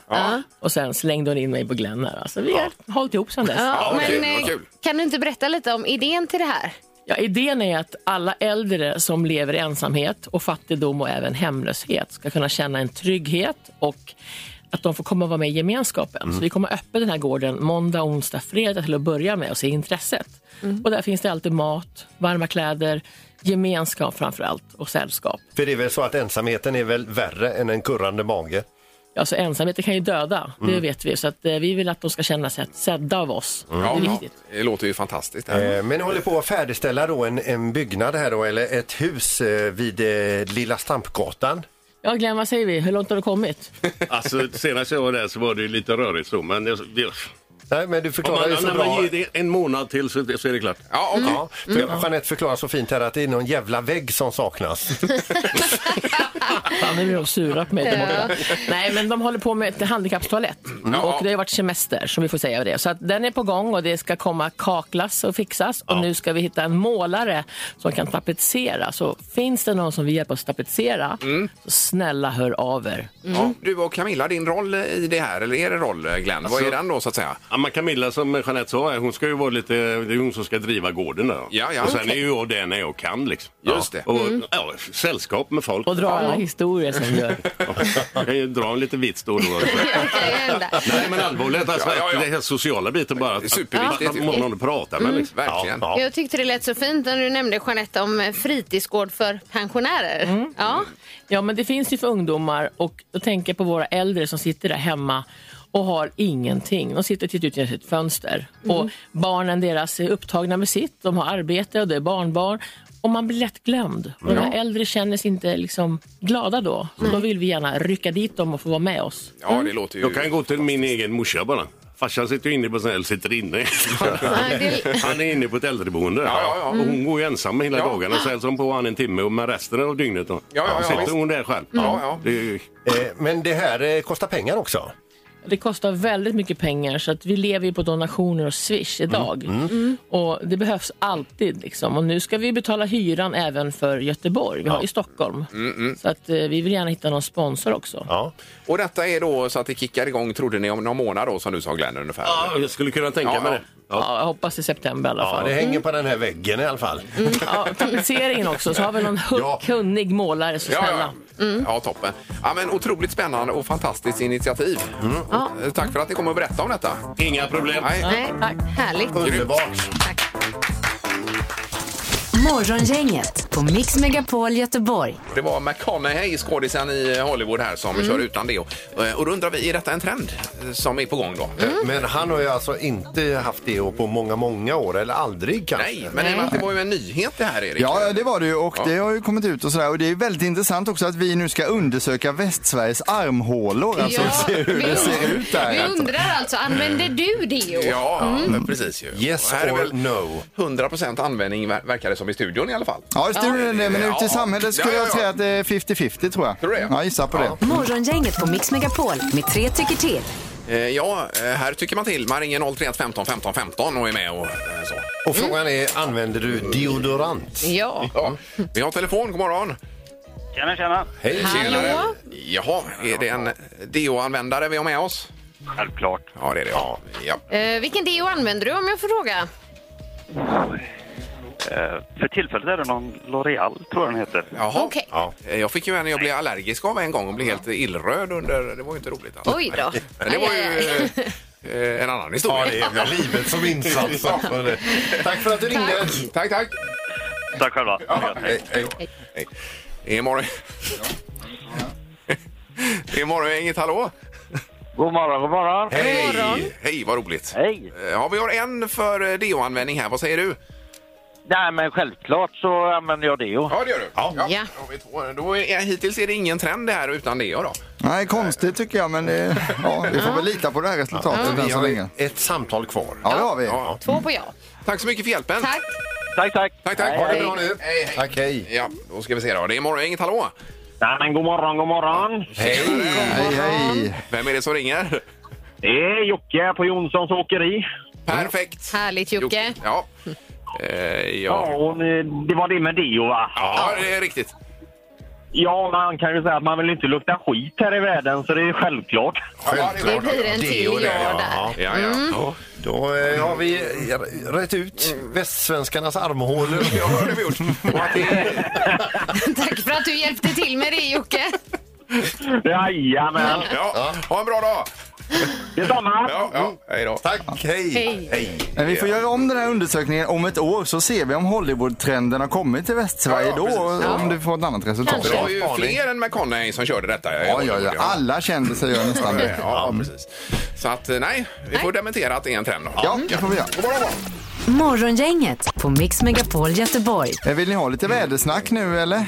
S9: Och sen slängde hon in mig på Glenn här. Alltså, vi har hållit ihop sedan dess. Ja.
S4: Ja,
S2: Ja, okej,
S4: men
S2: vad
S4: eh,
S2: kul.
S4: kan du inte berätta lite om idén till det här?
S9: idén är att alla äldre som lever i ensamhet och fattigdom och även hemlöshet ska kunna känna en trygghet och att de får komma och vara med i gemenskapen. Så vi kommer öppna den här gården måndag, onsdag, fredag till att börja med och se intresset. Och där finns det alltid mat, varma kläder, gemenskap framför allt och sällskap.
S3: För det är väl så att ensamheten är väl värre än en kurrande mage? Mm.
S9: Ja, så ensamheten kan ju döda, det vet vi. Så att, eh, vi vill att de ska känna sig sedda av oss.
S2: Ja,
S9: det är
S2: ja,
S9: viktigt.
S2: det låter ju fantastiskt.
S3: Eh, Men ni håller på att färdigställa då en, en byggnad här då, eller ett hus eh, vid eh, Lilla Stampgatan.
S9: Ja, Glenn, vad säger vi? Hur långt har du kommit?
S8: Alltså, senast jag var där så var det ju lite rörigt så, men det, det,
S3: Nej, men du
S8: om
S3: förklarar
S8: man,
S3: ju så
S8: när man
S3: bra.
S8: ger det en månad till så, så är det klart.
S2: Ja, okej.
S3: Ja, för Jeanette förklarar så fint här att det är någon jävla vägg som saknas.
S9: Fan, nu blir de sura på mig. där borta. Nej, men de håller på med ett handikappstoalett. Och det har ju varit semester, som vi får säga det. Så att den är på gång och det ska komma kaklas och fixas. Och nu ska vi hitta en målare som kan tapetsera. Så finns det någon som vill hjälpa oss att tapetsera, så snälla hör av er.
S2: Ja, du och Camilla, din roll i det här, eller er roll eh, Glenn,
S8: Alltså-
S2: vad är den då så att säga?
S8: Ja, men Camilla som Jeanette sa, här, hon ska ju vara lite, det är hon som ska driva gården där.
S2: Ja, ja.
S8: Och sen
S2: Okej.
S8: är ju jag det när jag kan liksom.
S2: Just det.
S8: Och, ja, sällskap med folk.
S9: Och dra alla historier som gör.
S8: Jag kan ju dra en liten vits då och då.
S4: Ja, det kan ju hända.
S8: Nej men allvarligt, alltså,
S2: Ja, ja, ja.
S8: det här sociala biten bara. Att,
S2: Superviktigt
S8: Att,
S2: ju.
S8: att man någon att prata med liksom.
S2: Verkligen.
S3: Ja,
S4: Jag tyckte det lät så fint när du nämnde Jeanette om eh, fritidsgård för pensionärer. Ja.
S9: Ja, men det finns ju för ungdomar och då tänker jag på våra äldre som sitter där hemma och har ingenting. De sitter och tittar ut genom sitt fönster.
S10: Mm.
S9: Och barnen deras är upptagna med sitt. De har arbete och det är barnbarn. Och man blir lätt glömd. Och De här äldre känner sig inte liksom glada då. Så då vill vi gärna rycka dit dem och få vara med oss.
S2: Ja, det låter ju...
S8: Jag kan gå till min egen morsa bara. Farsan sitter ju inne på sån här, sitter inne.
S4: Nej, det-
S8: Han är inne på ett äldreboende.
S2: Ja, ja, ja.
S8: Och hon går ju ensam hela
S2: Ja.
S8: dagarna. Så hälsar hon på han en timme och med resten av dygnet då.
S2: ja, ja,
S8: sitter
S2: visst.
S8: hon där själv.
S2: Ja, ja.
S8: Det är ju...
S3: Eh, Men det här eh, kostar pengar också.
S9: Det kostar väldigt mycket pengar så att vi lever ju på donationer och swish idag.
S10: Mm.
S9: Och det behövs alltid. Liksom. Och nu ska vi betala hyran även för Göteborg. Vi har ju Stockholm. Så att, eh, vi vill gärna hitta någon sponsor också.
S3: Ja.
S2: Och detta är då så att det kickar igång, trodde ni, om någon månad då som du sa Glenn ungefär?
S8: Ja, jag skulle kunna tänka
S2: Ja,
S8: mig
S2: ja.
S8: det.
S9: Ja, jag hoppas i september i alla
S3: Ja,
S9: fall. Mm.
S3: det hänger på den här väggen i alla fall.
S9: Ja, tapetseringen också, så har vi någon hu-
S3: Ja.
S9: kunnig målare, så
S2: Ja,
S9: snälla.
S2: ja. ja, toppen. Ja, men otroligt spännande och fantastiskt initiativ. Och, eh, Tack för att ni kom och berättade om detta.
S8: Inga problem.
S2: Nej.
S4: Nej, härligt.
S3: Underbart.
S1: Morgongänget på Mix Megapol Göteborg.
S2: Det var McConaughey, skådisen i Hollywood här, som kör utan det. Och eh, och då undrar vi, är detta en trend eh, som är på gång då?
S3: Men han har ju alltså inte haft det på många, många år, eller aldrig kanske.
S2: Nej, men det var- det var ju en nyhet det här, Erik.
S5: Ja, ja, det var det ju och
S2: Ja.
S5: det har ju kommit ut och sådär. Och det är väldigt intressant också att vi nu ska undersöka Västsveriges armhålor. Alltså
S4: Ja,
S5: se hur
S4: vi-
S5: det ser ut där.
S4: Vi undrar alltså, använder du deo?
S2: Ja, men precis ju.
S3: Yes
S2: Och här är
S3: or
S2: väl
S3: no?
S2: 100% användning ver- verkar det som i studion i alla fall.
S5: Ja, i studion är det, men
S2: Ja.
S5: ute i samhället skulle
S2: Ja, ja, ja.
S5: jag säga att det är 50-50 tror jag.
S2: Tror du det?
S5: Ja, gissa på det.
S1: Morgongänget på Mix Megapol med tre tycker till.
S2: Eh, Ja, eh, här tycker man till. Man ringer 031 15 15 15 och är med och eh, så.
S3: Och frågan är, använder du deodorant?
S4: Ja.
S2: Vi har telefon, god morgon.
S10: Tjena, tjena.
S2: Hej, tjenare. Jaha, är det en DO-användare vi har med oss?
S10: Självklart.
S2: Ja, det är det. Ja. Ja.
S4: Eh, vilken deo använder du om jag får fråga?
S10: Eh, För tillfället är det någon L'Oreal, tror jag den heter.
S2: Jaha. Ja. Eh, Jag fick ju en jag blev allergisk av en gång och blev helt illröd under... Det var ju inte roligt. Alltså.
S4: Oj då.
S2: Men det var ju eh, en annan historia.
S3: Ja, det är väl livet som insats. Tack för att du ringde.
S2: Tack, tack.
S10: Tack själva.
S2: hej, hej. hej. Det är morgon... Det är Morgongänget, hallå?
S10: God morgon, god morgon.
S2: Hej! Hej, vad roligt. Hej. Ja, vi har en för eh, DO-användning här. Vad säger du?
S10: Nej, men självklart så använder jag deo.
S2: Ja, det gör du. Ja. Ja. Då har vi två. Då är, hittills är det ingen trend det här utan det då.
S5: Nej, konstigt tycker jag, men det, ja, vi får väl lita på det här resultatet
S3: Vi
S5: än så
S3: har
S5: länge.
S3: ett samtal kvar.
S5: Ja, det har vi.
S4: Två på ja.
S2: Tack så mycket för hjälpen.
S4: Tack.
S10: Tack, tack.
S2: Tack, tack.
S3: Ha det bra nu.
S2: Hej, hej.
S3: Tack, hej.
S2: Ja, då ska vi se då. Det är morgongänget, hallå?
S10: Nej, men god morgon, god morgon.
S3: Hej.
S5: Hej, hej.
S2: Vem är det som ringer?
S10: Det är Jocke på Jonssons åkeri.
S2: Perfekt.
S4: Härligt Jocke.
S2: Ja. Eh,
S10: Ja,
S2: ja.
S10: och eh, det var det med deo va?
S2: ja, det är riktigt.
S10: Ja, man kan ju säga att man vill inte lukta skit här i världen, så det är självklart.
S4: Det blir en till
S3: Deo
S4: jag
S3: där, ja.
S4: där.
S2: Ja, ja. Ja,
S3: Då eh, har vi eh, rätt ut västsvenskarnas armhålor.
S2: Ja, det har vi gjort. Och att det-
S4: Tack för att du hjälpte till med det Jocke.
S10: Jajamän.
S2: Ja, ha en bra dag!
S10: Detsamma.
S2: Ja,
S5: Mm.
S2: ja. Hej då.
S3: Tack, hej.
S4: Hej.
S5: Men vi får göra om den här undersökningen om ett år så ser vi om Hollywood-trenden har kommit till Västsverige
S2: Ja, ja,
S5: då
S2: precis.
S5: och om du får ett annat resultat.
S2: Det var ju
S3: Spaning.
S2: fler än McConaughey som körde detta.
S5: Ja, ja, ja. Alla kändisar gör nästan det.
S2: Ja, precis. Så att eh, nej, vi får dementera att det är en trend då.
S5: Ja, det får vi göra.
S2: God morgon, morgon.
S1: Morgongänget på Mix Megapol Göteborg.
S5: Eh, Vill ni ha lite vädersnack nu eller?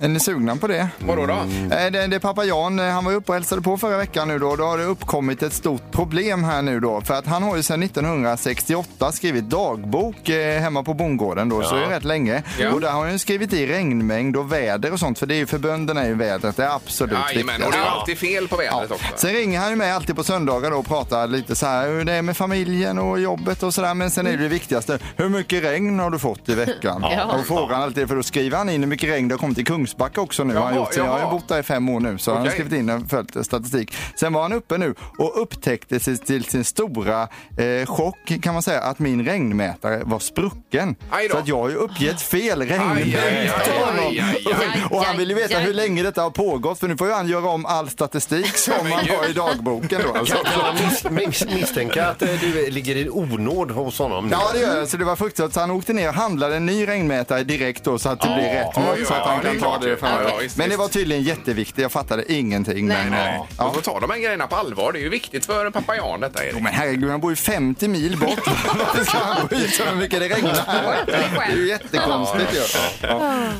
S5: Är ni sugna på det?
S2: Vadå då?
S5: Eh, Det, det är pappa Jan, eh, han var ju uppe och hälsade på förra veckan nu då. Då har det uppkommit ett stort problem här nu då. För att han har ju sedan 1968 skrivit dagbok eh, hemma på bondgården då, så det är rätt länge.
S2: Ja.
S5: Och där har han ju skrivit i regnmängd och väder och sånt. För det är ju för bönderna är ju vädret det är absolut
S2: Jajamän, och det är ju alltid fel på vädret också.
S5: Sen ringer han ju med alltid på söndagar då och pratar lite så här hur det är med familjen och jobbet och sådär. Men sen är det det viktigaste, hur mycket regn har du fått i veckan?
S4: Ja.
S5: Och frågar han alltid, för då skriver han in hur mycket regn det har kommit i Kungsbacka också nu. har han
S2: Jaha,
S5: gjort. Så Jag har ju
S2: jaha.
S5: bott där i fem år nu så han har
S2: Okej.
S5: skrivit in och följt statistik. Sen var han uppe nu och upptäckte sig till sin stora eh, chock kan man säga att min regnmätare var sprucken.
S2: Aj då.
S5: Så att jag har ju uppgett fel regnmätare.
S2: Aj, aj, aj,
S5: till honom.
S2: aj, aj, aj.
S5: Och han vill ju veta
S4: Aj, aj,
S5: hur
S4: aj.
S5: länge detta har pågått för nu får ju han göra om all statistik som han har i dagboken då. Alltså.
S3: Kan man mis mis- misstänka att eh, du ligger i onåd hos honom? nu?
S5: Ja det gör jag, så det var fruktansvärt. Så han åkte ner och handlade en ny regnmätare direkt då så att det blir rätt
S2: ja,
S5: mått så
S2: ja,
S5: att han
S2: ja, det
S5: kan
S2: är
S5: ta
S2: klart
S5: det
S2: ju.
S5: framöver.
S2: Ja, visst,
S5: Men det
S2: visst.
S5: var tydligen jätteviktigt, jag fattade ingenting.
S4: Nej,
S5: men,
S2: Nej.
S5: Ja.
S2: Man får ta de här grejerna på allvar. Det är ju viktigt för pappa Jan detta, Erik.
S5: Men herregud, han bor ju 50 mil bort. Varför ska han bry sig om hur mycket det regnar? Det är ju jättekonstigt ju.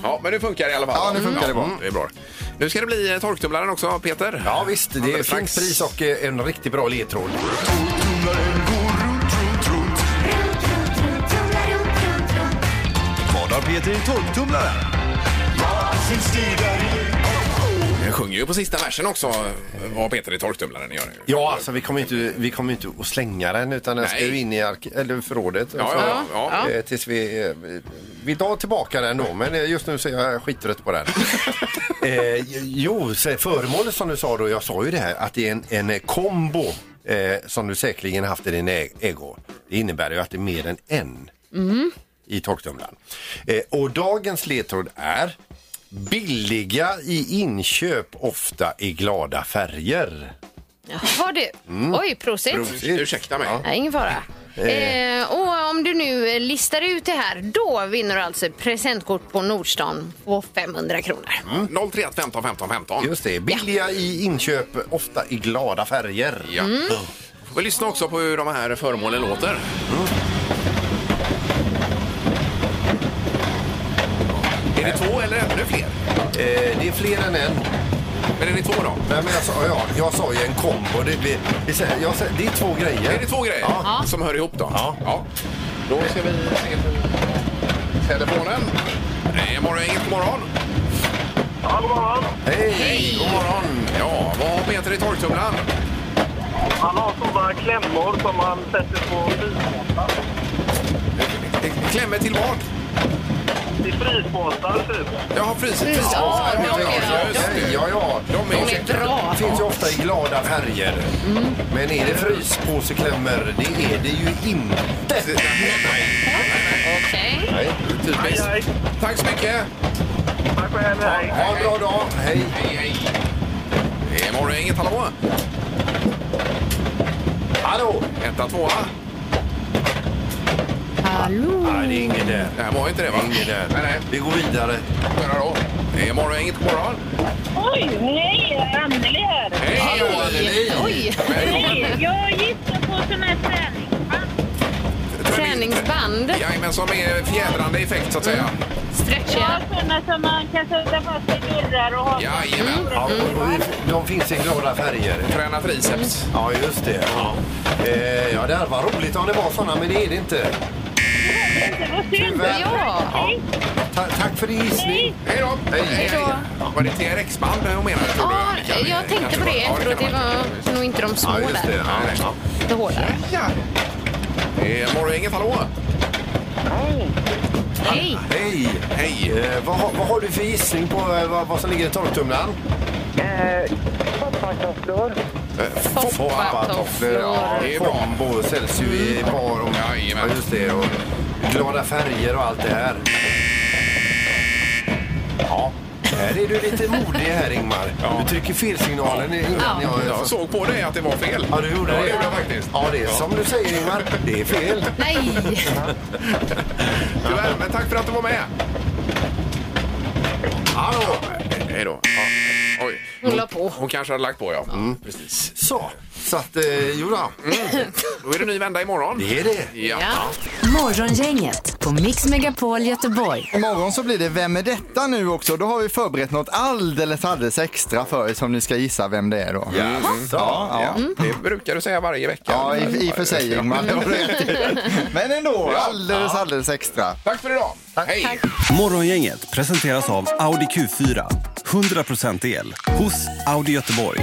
S2: Ja, men det funkar i alla fall. Mm,
S5: Ja, nu funkar det bra.
S2: Det är bra. Nu ska det bli eh, torktumlaren också, Peter.
S3: Ja visst, det
S2: Alldeles
S3: finns
S2: strax.
S3: pris och eh, en riktigt bra ledtråd.
S11: Vad har Peter i torktumlaren?
S2: Jag sjunger ju på sista versen också, eh, vad Peter i torktumlaren gör. Ja,
S3: Ja, alltså vi kommer ju inte, vi kommer ju inte att slänga den utan den ska
S2: Nej.
S3: ju in i ark- eller förrådet.
S2: ja, ja. ja.
S3: Eh, Tills vi, eh, vi- vi tar tillbaka den då, men eh, just nu så är jag skittrött på den. eh, jo, så föremålet som du sa då, jag sa ju det här, att det är en, en eh, kombo eh, som du säkerligen haft i din ä- ägo. Det innebär ju att det är mer än en
S2: Mm.
S3: i torktumlaren. Eh, och dagens ledtråd är billiga i inköp, ofta i glada färger.
S4: Jaha du. Oj, Mm. prosit.
S2: Ur- Ursäkta mig.
S4: Nej, ingen fara. Eh, och om du nu eh, listar ut det här, då vinner du alltså ett presentkort på Nordstan på 500 kronor.
S2: 031 15 15 15.
S3: Just det, billiga i inköp, ofta i glada färger.
S2: Ja. Mm. Vi lyssnar också på hur de här föremålen låter. Är det två eller ännu fler?
S3: Eh, det är fler än en.
S2: Men är det två då?
S3: Nej, men jag, sa, ja, jag sa ju en kombo. Det, det, det, sä- jag, sä- det är två
S2: Är det
S3: grejer.
S2: två grejer
S3: Ja.
S2: som hör ihop då?
S3: Ja.
S2: Då ska vi se på telefonen. Nej, morgon, inget god morgon.
S10: Ja, god morgon.
S3: Hej!
S2: God morgon. Ja, vad har Peter i torktumlaren?
S10: Han har sådana klämmor som man sätter på frysbåtar.
S2: Klämmer till vad?
S10: Till frysbåtar, typ.
S2: Jaha, frys,
S10: Ja,
S2: frysbåtar. Ja,
S10: de är-
S2: ja, ja, ja.
S3: De är bra. finns ju ofta i glada färger.
S2: Mm.
S3: Men är det fryspåseklämmor? Det är det ju inte.
S4: Okej.
S3: Nej,
S2: typiskt. Tack så mycket.
S10: Tack själv. Hej.
S3: Ha en bra dag. Hej.
S2: Hej, hej. Det är morgongänget. Hallå!
S3: Hallå!
S2: Etta, tvåa.
S4: Hallå!
S3: Nej, det är ingen där.
S2: Det här var inte det, va?
S3: Ingen där.
S2: Nej, nej.
S3: Vi går vidare.
S2: Höra då. Det är morgongänget. God morgon!
S12: Oj, nej, Anneli här.
S2: Hej, Hallå, Anneli.
S4: Oj!
S12: Hej, jag gissar på sån här träning.
S4: Träningsband.
S2: Jajamän, som är fjädrande effekt, så att säga.
S3: Mm.
S12: Ja, såna som man kan sätta fast i dörrar och ha.
S2: Jajamän.
S3: Ja,
S2: Mm.
S3: de finns i glada färger.
S2: Träna triceps.
S3: Ja, just det. Ja, eh, ja det här var roligt om det var såna, men det är det inte.
S12: Det var synd.
S3: Tyvärr.
S12: Ja.
S3: Ta tack för din gissning.
S2: Hej då!
S3: Hej.
S4: då.
S2: Var det TRX-band hon menade, tror du?
S4: Ja,
S2: Annika?
S4: jag tänkte på det. Jag tror att det var nog inte de små
S2: Ja, just det.
S4: där.
S2: Ja, nej.
S4: Lite hårdare.
S2: Ja. Det är morgongänget. Hallå!
S4: Hej!
S3: Hej!
S2: Hej!
S3: Eh, vad, har- vad har du för gissning på eh, vad, vad som ligger i torktumlaren?
S10: Toppatofflor.
S3: Foppatofflor. Ja,
S2: Det är bra. Mm.
S3: Combo säljs ju i bar och... Ja, just det. Och glada färger och allt det här. Ja. Här är du lite modig här, Ingmar. Du trycker fel signalen i- innan
S2: Ja.
S3: jag...
S2: Jag såg på dig att det var fel.
S3: Ja, du gjorde
S2: Ja,
S3: det.
S2: det gjorde jag faktiskt.
S3: Ja, det är som du säger, Ingmar. Det är fel.
S4: Nej!
S2: Tyvärr, men tack för att du var med. Hallå! Hej då. Ja. Oj.
S4: Hon la på.
S2: Hon kanske hade lagt på, ja. Mm. Precis.
S3: Så, så att... Eh, jodå.
S2: Mm. Då är det ny vända imorgon.
S3: Det är det.
S2: Ja.
S1: Morgongänget på Mix Megapol Göteborg.
S5: Imorgon så blir det Vem är detta nu också? Då har vi förberett något alldeles, alldeles extra för er som ni ska gissa vem det är då.
S2: Ja,
S5: Ja, ja.
S2: Det brukar du säga varje vecka.
S5: Ja, i, i och för sig Ingmar. det har du rätt i. Men ändå,
S2: Ja.
S5: alldeles, alldeles extra.
S2: Tack för idag. Hej!
S13: Morgongänget presenteras av Audi Q4. 100% el hos Audi Göteborg.